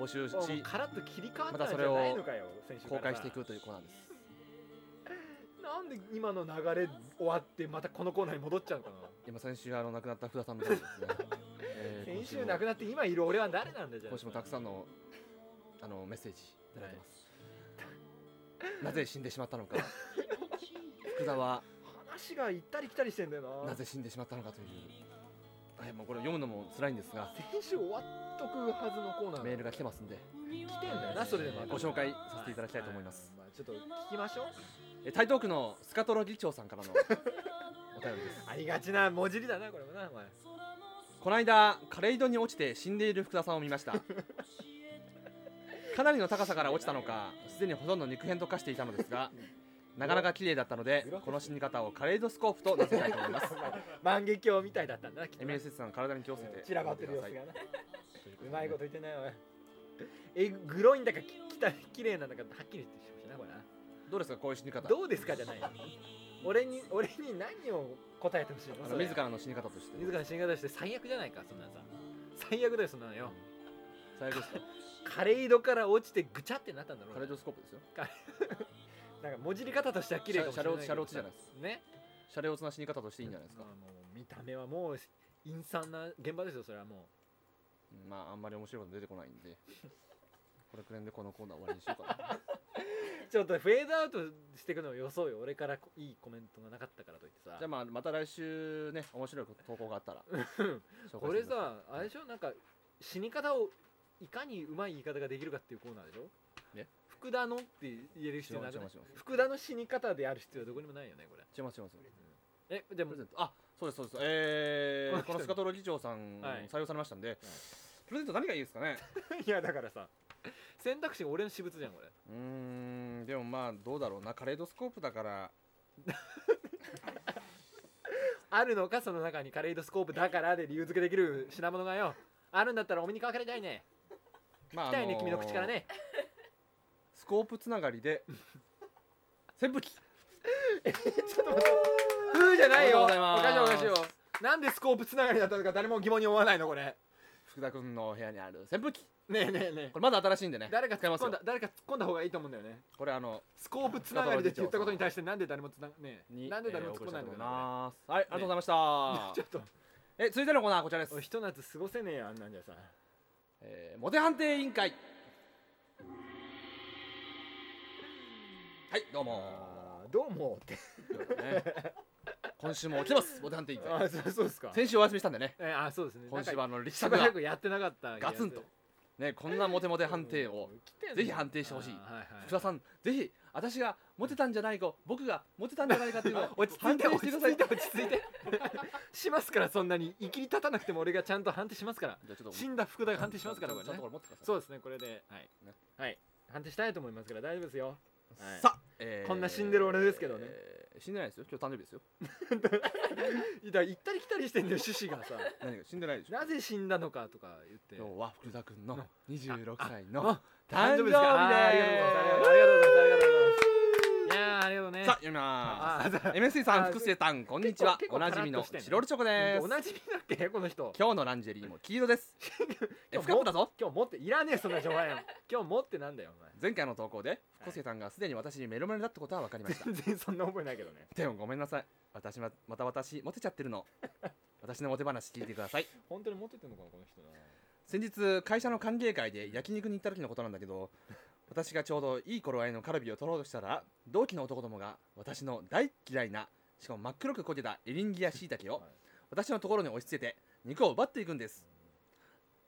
Speaker 1: 募集し
Speaker 2: おもうカラッと切り替わった
Speaker 1: また
Speaker 2: ん
Speaker 1: そ
Speaker 2: じ
Speaker 1: れ
Speaker 2: ゃ
Speaker 1: を
Speaker 2: ないのかよ先週か
Speaker 1: 公
Speaker 2: ら
Speaker 1: 開していくというコーナーです
Speaker 2: なんで今の流れ終わってまたこのコーナーに戻っちゃうのかな
Speaker 1: 今先週あの亡くなった福田さんの
Speaker 2: [laughs]
Speaker 1: ことですね、えー
Speaker 2: 先週亡
Speaker 1: 今
Speaker 2: くなって今いる俺は誰なんだじ
Speaker 1: 週
Speaker 2: ゃあ
Speaker 1: も今週もたくさんのあのメッセージいただいてますなぜ死んでしまったのか福田は
Speaker 2: 話が行ったり来たりしてんだよな
Speaker 1: なぜ死んでしまったのかという、はい、もうこれ読むのも辛いんですが、
Speaker 2: 先週終わっとくはずのコーナー
Speaker 1: メールが来てますんで、
Speaker 2: 来てんだよなそれでまた
Speaker 1: ご紹介させていただきたいと思います。
Speaker 2: ははまあ、ちょっと聞きましょう
Speaker 1: え台東区のスカトロ議長さんから
Speaker 2: [laughs]
Speaker 1: のお便りです。
Speaker 2: ありがちな文字りだなこれもなお前
Speaker 1: この間、枯れ井戸に落ちて死んでいる福田さんを見ました。かなりの高さから落ちたのか、すでにほとんど肉片と化していたのですが、なかなか綺麗だったので、この死に方を枯れ井戸スコープと名付けたいと思
Speaker 2: [laughs]
Speaker 1: います。
Speaker 2: 万華鏡みたいだったんだなきっとな
Speaker 1: MSS さん、体に気をつけて。
Speaker 2: 散らばってる様子がなう
Speaker 1: う
Speaker 2: まいこと言ってないわえグロいんだかききた綺麗なんだかはっきり言ってほしいなこれな
Speaker 1: どうですか、こういう死に方。
Speaker 2: どうですかじゃないよ俺に俺に何を答えてほしいの
Speaker 1: あ
Speaker 2: そ
Speaker 1: の
Speaker 2: れ
Speaker 1: 自らの死に方として。
Speaker 2: 自らの死に方して最悪じゃないかそんなのさ最悪だよそんなのよ
Speaker 1: 最悪ですか。
Speaker 2: 枯れ井戸から落ちてぐちゃってなったんだろ
Speaker 1: 枯れ井戸スコープですよ。
Speaker 2: なんか文字り方としては綺麗かもしれないけど
Speaker 1: シャレオツシャレオツじゃないです
Speaker 2: ね
Speaker 1: シャレオツな死に方としていいんじゃないですか
Speaker 2: ま。あもう見た目はもう陰惨な現場ですよそれはも
Speaker 1: うんまああんまり面白いこと出てこないんでこれくらいでこのコーナー終わりにしようかな
Speaker 2: うちょっとフェードアウトしていくのをよそうよ俺からいいコメントがなかったからといってさ [laughs]
Speaker 1: じゃあまあまた来週ね面白い投稿があったら
Speaker 2: うん
Speaker 1: 紹
Speaker 2: こ
Speaker 1: 介
Speaker 2: れ
Speaker 1: してくだ
Speaker 2: さあれでしょなんか死に方をいかにうまい言い方ができるかっていうコーナーでしょ
Speaker 1: ね
Speaker 2: 福田のって言える必
Speaker 1: さ
Speaker 2: 要
Speaker 1: い
Speaker 2: なく
Speaker 1: 違い
Speaker 2: ない
Speaker 1: ます違います違います
Speaker 2: 福田の死に方である必要はどこにもないよねこれ
Speaker 1: 違います違います
Speaker 2: えでも
Speaker 1: プレゼントあそうですそうですえ
Speaker 2: この
Speaker 1: ー、
Speaker 2: 人
Speaker 1: このスカトロ議長さん
Speaker 2: はい
Speaker 1: 採用されましたんで、プレゼント何がいいですかね
Speaker 2: [laughs] いやだからさ選択肢が俺の私物じゃんこれ
Speaker 1: うーんでもまあどうだろうなカレードスコープだから
Speaker 2: あるのかその中にカレイドスコープだからで理由付けできる品物がよあるんだったらお目にかかりたいね
Speaker 1: まあ
Speaker 2: 来たいね
Speaker 1: あー
Speaker 2: 君の口から
Speaker 1: [laughs]
Speaker 2: ね
Speaker 1: スコープつながり
Speaker 2: [laughs]
Speaker 1: で扇風機
Speaker 2: ふーじゃないよ
Speaker 1: お
Speaker 2: お
Speaker 1: めでとう
Speaker 2: か
Speaker 1: ござい
Speaker 2: しい
Speaker 1: ま
Speaker 2: お
Speaker 1: す
Speaker 2: かしいよなんでスコープつながりだったのか誰も疑問に思わないのこれ
Speaker 1: 福田君の部屋にある扇風機
Speaker 2: ねえねえね
Speaker 1: これまだ新しいんで
Speaker 2: え
Speaker 1: ね
Speaker 2: 誰か
Speaker 1: 使
Speaker 2: 突
Speaker 1: いま
Speaker 2: っ
Speaker 1: す
Speaker 2: 込ん
Speaker 1: よ
Speaker 2: だ誰か突っ込んだ方がいいと思うんだよね
Speaker 1: これあの
Speaker 2: スコープつながりでって言ったことに対してなんで誰もつなねえ
Speaker 1: に
Speaker 2: なんで誰
Speaker 1: えー
Speaker 2: も
Speaker 1: お
Speaker 2: 突っ
Speaker 1: 送
Speaker 2: 込
Speaker 1: り
Speaker 2: んないのか
Speaker 1: したいと思い
Speaker 2: な
Speaker 1: ますはいありがとうございました、
Speaker 2: ちょっと
Speaker 1: え続いてのコーナーはこちらです
Speaker 2: 俺、ひと夏過ごせねえよあんなんじゃさ
Speaker 1: えーモテ判定委員会はいどうも
Speaker 2: あーどうもって
Speaker 1: ということでね今週も起きてますモテ判定委員
Speaker 2: あ
Speaker 1: 会
Speaker 2: ーそうそうですか
Speaker 1: 先週お休みしたんでね
Speaker 2: えーあーそうですね
Speaker 1: 今週はあの力
Speaker 2: しば
Speaker 1: 作が
Speaker 2: らくやってなかった
Speaker 1: ガツンとね、こんなモテモテ判定をぜひ判定してほしい
Speaker 2: あーはいはい
Speaker 1: 福田さんぜひ私がモテたんじゃないか僕がモテたんじゃないかっていうのを
Speaker 2: [laughs] 落ち着い
Speaker 1: 判
Speaker 2: て
Speaker 1: 定
Speaker 2: 落
Speaker 1: し
Speaker 2: ち着
Speaker 1: てくださ
Speaker 2: い
Speaker 1: い
Speaker 2: て落ち着いて [laughs] しますからそんなにいきり立たなくても俺がちゃんと判定しますから
Speaker 1: じゃあちょっと
Speaker 2: 死んだ福田が判定しますからこ
Speaker 1: ち
Speaker 2: れ
Speaker 1: ゃん
Speaker 2: ね
Speaker 1: とこれ持ってください
Speaker 2: そうですねこれではい
Speaker 1: ね
Speaker 2: はい判定したいと思いますから大丈夫ですよはい
Speaker 1: さあ、え
Speaker 2: こんな死んでる俺ですけどね
Speaker 1: えー死んでないですよ今日誕生日ですよ
Speaker 2: だから行ったり来たりしてんだよ趣旨が [laughs] さ
Speaker 1: 何が死んでないでしょ
Speaker 2: なぜ死んだのかとか言って
Speaker 1: 今日は福田君の
Speaker 2: な
Speaker 1: 26
Speaker 2: あ
Speaker 1: 歳
Speaker 2: あ
Speaker 1: の
Speaker 2: 誕
Speaker 1: 誕
Speaker 2: 生
Speaker 1: 生
Speaker 2: 日
Speaker 1: 日
Speaker 2: で
Speaker 1: ですす
Speaker 2: かあーありがとうございますありがとうございますいやーありがとうね
Speaker 1: さあ読みま
Speaker 2: あー
Speaker 1: す MSC
Speaker 2: あ
Speaker 1: さ
Speaker 2: ー
Speaker 1: ん福瀬さんこんにちは
Speaker 2: 結構
Speaker 1: おなじみ
Speaker 2: カラッ
Speaker 1: の
Speaker 2: としてんね
Speaker 1: チロルチョコで
Speaker 2: お
Speaker 1: す
Speaker 2: なじみだっけこの人
Speaker 1: 今日のランジェリーも黄色ですえ
Speaker 2: 今日
Speaker 1: 深くだぞ
Speaker 2: 今日持っていらねえそんな情報 [laughs] やん今日持ってなんだよお
Speaker 1: 前回の投稿で福瀬さんがすでに私にメロメロだってことは分かりま
Speaker 2: 前
Speaker 1: した
Speaker 2: 全然そんな覚えないけどね
Speaker 1: でもごめんなさい私はまた私モテちゃってるの私のモテ話聞いてください
Speaker 2: 本当に持ってってんのかなこの人な
Speaker 1: 先日会社の歓迎会で焼肉に行った時のことなんだけど私がちょうどいい頃合いのカルビを取ろうとしたら同期の男どもが私の大嫌いなしかも真っ黒く焦げたエリンギや椎茸を
Speaker 2: はい
Speaker 1: 私のところに押し付けて肉を奪っていくんです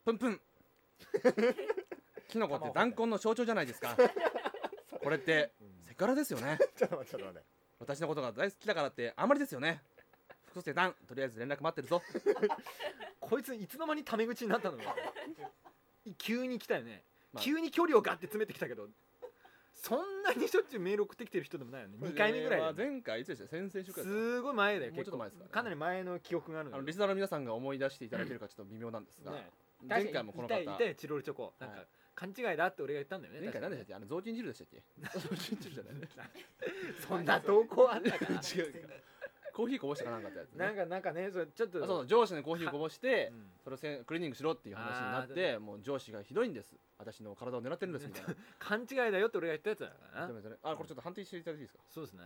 Speaker 1: プンプンキノコって弾痕の象徴じゃないですかこれってセクハラですよね
Speaker 2: [laughs] ちょっと待ってちょっと待って
Speaker 1: 私のことが大好きだからってあまりですよね福瀬さんとりあえず連絡待ってるぞ
Speaker 2: こいついつの間にタメ口になったのよ急に来たよね、
Speaker 1: まあ
Speaker 2: 急に距離をガッて詰めてきたけどそんなにしょっちゅうメール送ってきてる人でもないよね2回目ぐらいだよ
Speaker 1: これ
Speaker 2: ね
Speaker 1: は前回いつでした先々週くらいですか
Speaker 2: すごい前だよ
Speaker 1: もうち
Speaker 2: 結
Speaker 1: ょっと
Speaker 2: 構
Speaker 1: 前ですかね
Speaker 2: かなり前の記憶があるの
Speaker 1: あの
Speaker 2: よ
Speaker 1: リスナーの皆さんが思い出していただけるかちょっと微妙なんですが、
Speaker 2: ね
Speaker 1: 前回もこの方
Speaker 2: 確かにいたいたよチロルチョコなんか、
Speaker 1: はい
Speaker 2: 勘違いだって俺が言ったんだよね
Speaker 1: 前回何でしたっ
Speaker 2: 確か
Speaker 1: けあの雑巾汁でしたっ
Speaker 2: [laughs]
Speaker 1: け雑巾汁じゃないね
Speaker 2: にそんな投稿あったから
Speaker 1: [laughs] 違うかコーヒーこぼしたかなんかってやつ、ね、
Speaker 2: なんかなんかねそれちょっと
Speaker 1: あそうそう上司のコーヒーをこぼして
Speaker 2: うん
Speaker 1: それをせクリーニングしろっていう話になっ
Speaker 2: あー
Speaker 1: てもう上司がひどいんです私の体を狙ってるんですみたいな
Speaker 2: 勘違いだよって俺が言ったやつだから [laughs] な
Speaker 1: でもそれあこれちょっと判定していただいていいですか
Speaker 2: そうですね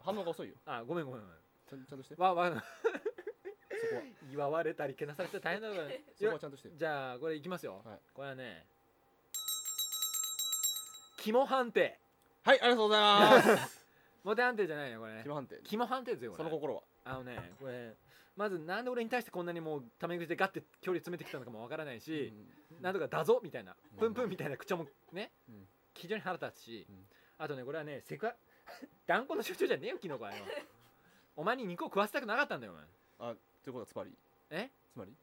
Speaker 1: 反応が遅いよ
Speaker 2: あごめんごめんごめん
Speaker 1: ちゃんちゃん
Speaker 2: [laughs]
Speaker 1: としてそ
Speaker 2: わわ
Speaker 1: こは
Speaker 2: 祝われたりけなされたら大変だからねい
Speaker 1: [laughs] そこ
Speaker 2: や
Speaker 1: はちゃんとして
Speaker 2: じゃあこれいきますよ、
Speaker 1: はい
Speaker 2: これはね肝判定
Speaker 1: はいありがとうございます
Speaker 2: モテ判定じゃないよこれね
Speaker 1: 基
Speaker 2: [laughs]
Speaker 1: 本判定
Speaker 2: 肝判定ですよこ
Speaker 1: そ
Speaker 2: れ
Speaker 1: の心は
Speaker 2: あのねこれまずなんで俺に対してこんなにもうタメ口でガッて距離詰めてきたのかもわからないし、なんとかだぞみたいな、
Speaker 1: うん
Speaker 2: プンプンみたいな口調もね、
Speaker 1: うん
Speaker 2: 非常に腹立つし、
Speaker 1: うん
Speaker 2: あとねこれはねセクハ [laughs] 断固の主張じゃねえよキノコはよお前に肉を食わせたくなかったんだよお前
Speaker 1: あということはつまり
Speaker 2: え
Speaker 1: つまり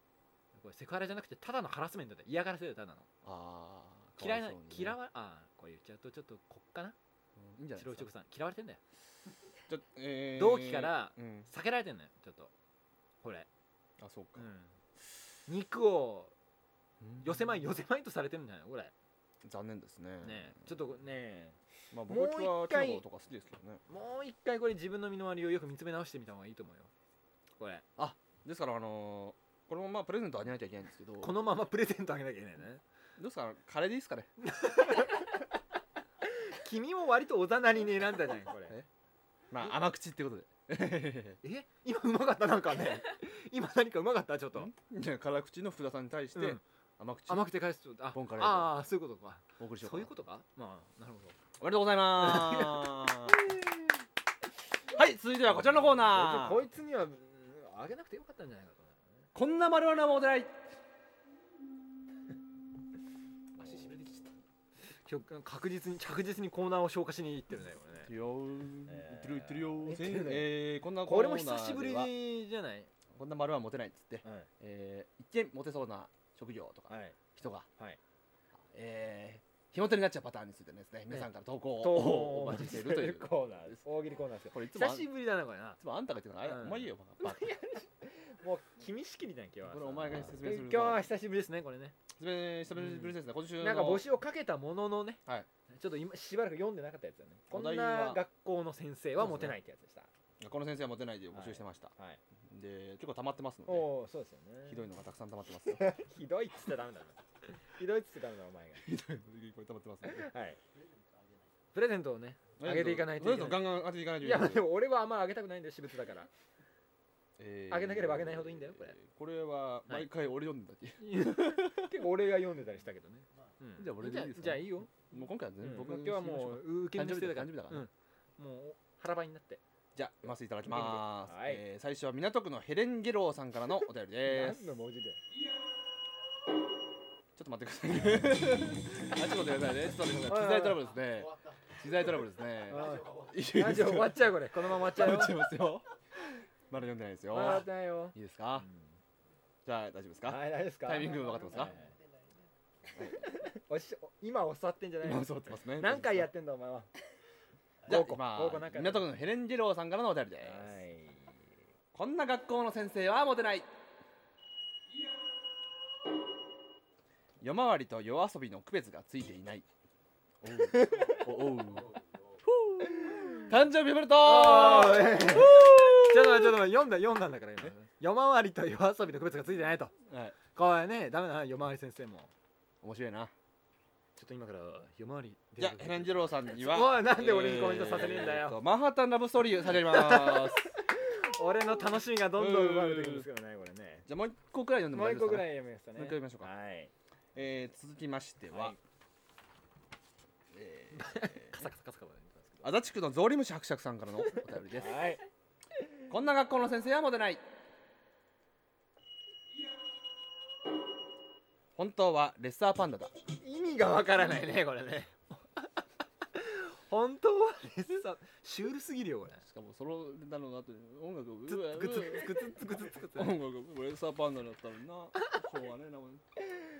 Speaker 2: これセクハラじゃなくてただのハラスメントだよ嫌がらせだよただの
Speaker 1: ああ
Speaker 2: 嫌いな嫌わあーこれ言っちゃうとちょっとこっかな
Speaker 1: うんいいんじゃない
Speaker 2: チロ
Speaker 1: で
Speaker 2: ル
Speaker 1: す
Speaker 2: チョコさ
Speaker 1: か
Speaker 2: ん嫌われてんだよ
Speaker 1: ちょえー
Speaker 2: 同期から
Speaker 1: うん
Speaker 2: 避けられてんだよちょっとこれ、
Speaker 1: あそうか
Speaker 2: 肉を
Speaker 1: うん
Speaker 2: 寄せまい寄せまいとされてるんじゃないのこれ
Speaker 1: 残念ですね
Speaker 2: ねえちょっとね
Speaker 1: まあ僕はキ
Speaker 2: もう
Speaker 1: ノ
Speaker 2: 一回
Speaker 1: コとか好きですけどね
Speaker 2: もう一回これ自分の身の回りをよく見つめ直してみた方がいいと思うよこれ
Speaker 1: ですからあのーこれもまあプレゼントあげなきゃいけないんですけど
Speaker 2: こ
Speaker 1: ど
Speaker 2: のままプレゼントあげなきゃいけないね
Speaker 1: うですかカレーでいいですかね
Speaker 2: 君も割とおざなりに選んだじゃんこれ
Speaker 1: えまあ甘口ってことで
Speaker 2: え今うまかったなんか
Speaker 1: [laughs]
Speaker 2: ね今何かうまかったちょっと、
Speaker 1: いや辛口の福田さんに対し
Speaker 2: う
Speaker 1: て
Speaker 2: ん
Speaker 1: 甘口
Speaker 2: 甘くて返すとあ
Speaker 1: ボンカレー
Speaker 2: ああそういうことか
Speaker 1: お送りしよう
Speaker 2: そういうこととかまあなるほど
Speaker 1: おめでとうございます
Speaker 2: [laughs]
Speaker 1: はい続いてはこちらのコーナー
Speaker 2: こいつにはうんあげなくてよかったんじゃないかと思うね
Speaker 1: こんな丸々も出ない
Speaker 2: 足しびれてきちゃった今日確実に着実にコーナーを消化しにいってるねこれね
Speaker 1: てるよ
Speaker 2: えー
Speaker 1: てるよてるよ
Speaker 2: 言ってるね
Speaker 1: えーこんな
Speaker 2: こ
Speaker 1: コー
Speaker 2: れ
Speaker 1: ナー
Speaker 2: も
Speaker 1: では
Speaker 2: 久しぶりじゃない
Speaker 1: こんな丸はモテないっつって、
Speaker 2: はい
Speaker 1: えー一見モテそうな職業とか
Speaker 2: はい
Speaker 1: 人が、
Speaker 2: はい
Speaker 1: えー非モテになっちゃうパターンについてですね皆さんから投稿
Speaker 2: と
Speaker 1: をお待ちしているという
Speaker 2: コーナーです大喜利コーナーですよ
Speaker 1: [laughs] これいつもあん
Speaker 2: 久
Speaker 1: い
Speaker 2: しぶりだなこれな
Speaker 1: つもあんたが言ってるのあ
Speaker 2: うん
Speaker 1: れお前いいよバカバカ
Speaker 2: もう君仕切りだよ今日は
Speaker 1: これお前が説明する
Speaker 2: 今日は久しぶりですねこれね
Speaker 1: 説明してぶりですね今週の
Speaker 2: なんか募集をかけたもののね、
Speaker 1: はい
Speaker 2: ちょっと今しばらく読んでなかったやつだねこ
Speaker 1: お
Speaker 2: ん
Speaker 1: 題は
Speaker 2: な学校の先生はモテないってやつでした
Speaker 1: この先生はモテないで募集してました、
Speaker 2: はい
Speaker 1: で結構溜まってますので
Speaker 2: おおそうですよね
Speaker 1: ひどいのがたくさん溜まって [laughs] ますよ
Speaker 2: ひどいっつったらダメだなひどいっつったらダメだお前
Speaker 1: ひどいのこれ溜まってますので
Speaker 2: がはいプレゼントをね上げていかないと
Speaker 1: と
Speaker 2: い
Speaker 1: り
Speaker 2: け
Speaker 1: あ
Speaker 2: ない
Speaker 1: えずガンガン上げていかないと
Speaker 2: い
Speaker 1: いけ
Speaker 2: や
Speaker 1: ない
Speaker 2: でも俺はあんま上げたくないんだよ私物だ
Speaker 3: [laughs]
Speaker 2: から
Speaker 1: え
Speaker 2: 上げなければ上げないほどいいんだよこれ
Speaker 1: これは毎回俺読んでたっけ、
Speaker 2: 結構俺が読んでたりしたけどね、うん
Speaker 1: じゃあ俺でいいですか
Speaker 2: じゃあいいよ、
Speaker 1: もう今回は全
Speaker 2: うん
Speaker 1: 部僕
Speaker 2: 僕今日はもう受け
Speaker 1: 誕
Speaker 2: 身
Speaker 1: 生
Speaker 2: して
Speaker 1: 日だ
Speaker 2: たか
Speaker 1: か
Speaker 2: らら
Speaker 1: 誕生日だから、
Speaker 2: うん、もう腹ばいになって
Speaker 1: じゃあ読ませていただきます、
Speaker 2: はい
Speaker 1: えー最初は港区のヘレン・ゲローさんからのお便りです
Speaker 2: 何の文字で
Speaker 1: [laughs] ちょっと待ってくださいねあちょっと待ってくださいねちょっと待ってください機材トラブルですね機材トラブルですねいい
Speaker 3: ラジオ終わっちゃうこれこのまま終わっ
Speaker 1: っ
Speaker 3: ち
Speaker 1: ちゃい
Speaker 3: ゃうよ
Speaker 1: ますよまだ読んでないですよ
Speaker 3: 終わってないよ
Speaker 1: いいですかじゃあ大丈夫ですか
Speaker 3: はい大丈夫ですか
Speaker 1: タイミング分かってますか
Speaker 3: おし今おさってんじゃない
Speaker 1: 今
Speaker 3: の
Speaker 1: 座ってますね
Speaker 3: 何回やってんだお前は
Speaker 1: じゃあ
Speaker 3: 五個五個
Speaker 1: 今
Speaker 3: なんか
Speaker 1: 港区のヘレン・ジェローさんからのお便りです
Speaker 3: い
Speaker 1: こんな学校の先生はモテない夜回りと夜遊びの区別がついていないおうおう [laughs] 誕生日おめでと
Speaker 3: あ
Speaker 1: う
Speaker 3: ー
Speaker 2: ちょっと待ってちょっと待って読んだ読んだんだから今夜回りと夜遊びの区別がついてないと
Speaker 1: はい
Speaker 2: これねダメだな夜回り先生も
Speaker 1: 面白いな
Speaker 2: ちょっと今から夜回り
Speaker 1: じゃあヘレン・ジェローさんには
Speaker 2: おいなんで俺にコメントさせねえんだ
Speaker 1: えー
Speaker 2: よ
Speaker 1: とマンハッタン・ラブストーリー差し上げ [laughs] ます
Speaker 2: 俺の楽しみがどんどん奪われていくんですけどねこれね
Speaker 1: じゃあもう一個くらい読んでも
Speaker 3: もう
Speaker 1: 大
Speaker 3: 一
Speaker 1: 丈夫
Speaker 3: 個ぐ
Speaker 1: ですからね
Speaker 3: い読みましたね
Speaker 1: もう一個読みましょうか、
Speaker 3: はい
Speaker 1: えー続きましては、
Speaker 3: はい
Speaker 1: え
Speaker 2: カサカサカサカサ
Speaker 1: ー足立区のゾウリムシ伯爵さんからのお便りです
Speaker 3: はい
Speaker 1: こんな学校の先生はモテない本当はレッサーパンダだ
Speaker 2: 意味がわからないねこれね本当 [laughs] はレッサーシュールすぎるよこれ
Speaker 1: しかもそのなの後に音楽を
Speaker 2: つつくつつくつつくつつくつ
Speaker 1: 音楽をレッサーパンダだったのになしょうがねえな、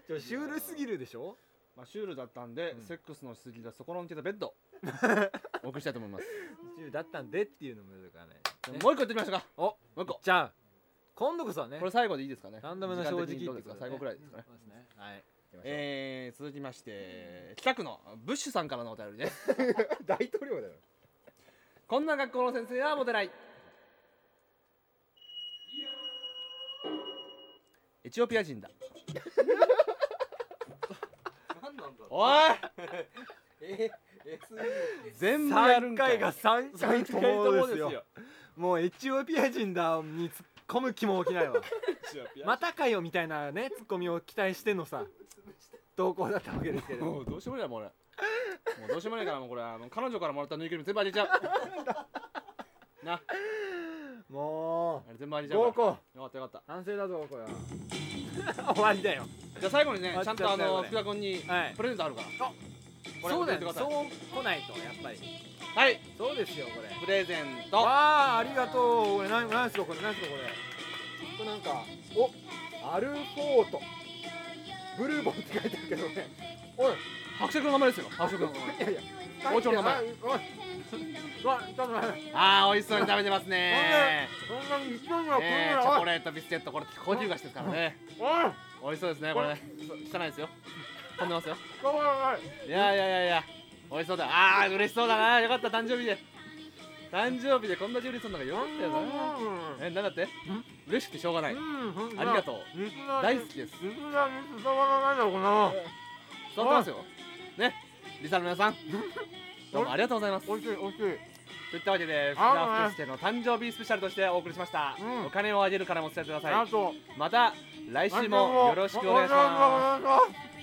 Speaker 2: ちょシュールすぎるでしょ
Speaker 1: まあ、シュールだったんで、
Speaker 2: うん
Speaker 1: セックスのしすぎだそこの抜けたベッド [laughs] お送りしたいと思います
Speaker 2: シュールだったんでっていうのもだからね
Speaker 1: じゃあもう一個言ってみましょうか
Speaker 2: お
Speaker 1: もう一個
Speaker 2: じゃあ今度こそはね
Speaker 1: これ最後でいいですかね
Speaker 2: ランダムな正直って
Speaker 1: 時間的にど
Speaker 2: こ
Speaker 1: う
Speaker 2: と
Speaker 1: で
Speaker 2: で
Speaker 1: すか
Speaker 2: ね
Speaker 1: 最後くらいですかね
Speaker 2: そうですねはい
Speaker 1: えー、続きまして北区のブッシュさんからのお便りです
Speaker 3: 大統領だよ
Speaker 1: こんな学校の先生はモテないエチオピア人だ
Speaker 4: 何なんだろう
Speaker 1: おい
Speaker 4: え SE
Speaker 1: 全部やる
Speaker 2: 3
Speaker 1: んか
Speaker 2: 回
Speaker 1: い
Speaker 2: が3回ともですよもうエチオピア人だに突っ込む気も起きないわまたかよみたいなね突っ込みを期待してのさ投稿だったわけですけ [laughs] れど
Speaker 1: もうどうしようもないもう俺もうどうしようもないからもうこれはもう彼女からもらったぬいぐるみ全部あげちゃうなあ
Speaker 3: も
Speaker 1: れ全部あげ
Speaker 3: う
Speaker 1: ちゃう
Speaker 3: 合
Speaker 1: から
Speaker 3: コン
Speaker 1: よかったよかっ
Speaker 3: 反省だぞこれは
Speaker 2: [laughs] 終わりだよ
Speaker 1: たじゃあ最後にね
Speaker 2: あっ
Speaker 1: ち
Speaker 2: ちゃっ
Speaker 1: ゃん
Speaker 2: たよ
Speaker 1: とあの
Speaker 2: これ
Speaker 1: 福田君に
Speaker 2: はい
Speaker 1: プレゼントあるからこれ
Speaker 2: そうだよね
Speaker 1: 送ってくだ
Speaker 2: そ
Speaker 1: さ
Speaker 2: う
Speaker 1: い
Speaker 2: 来ないとやっぱり
Speaker 1: はい
Speaker 2: そうですよこれ
Speaker 1: プレゼント
Speaker 2: ああありがとうこれ何何すかこれ何すかこれ
Speaker 3: これなんかおアルフォートブルーボンって書いてあるけどねおい
Speaker 1: 伯爵の名前ですよ伯爵の名前
Speaker 3: いやいや
Speaker 1: 包丁の前
Speaker 3: あおいおいわちょっと待って
Speaker 1: ああ美味しそうに食べてますね
Speaker 3: そんなに一番はこん
Speaker 1: ねえチ
Speaker 3: な
Speaker 1: ョ
Speaker 3: の
Speaker 1: コレートビスケットこれ高級菓子ですからね
Speaker 3: おいおい
Speaker 1: 美味しそうですねこれね汚いですよ飛んでますよ
Speaker 3: おいおい
Speaker 1: いやいやいやいや美味しそうだああ嬉しそうだなよかった誕生日で誕生日でこんだけ嬉しそうなのがよかったよなえなんだって嬉しくてしょうがないありがとう大好きです
Speaker 3: 肉が肉がわらないだろこんなもん
Speaker 1: 伝わってますよねリサの皆さんどうもありがとうございます
Speaker 3: おいしいおいしい
Speaker 1: といったわけで福
Speaker 3: あー
Speaker 1: 田福助の誕生日スペシャルとしてお送りしました、
Speaker 3: うん
Speaker 1: お金をあげるからもお伝えください
Speaker 3: あと
Speaker 1: また来週もよろしくお願いします
Speaker 3: す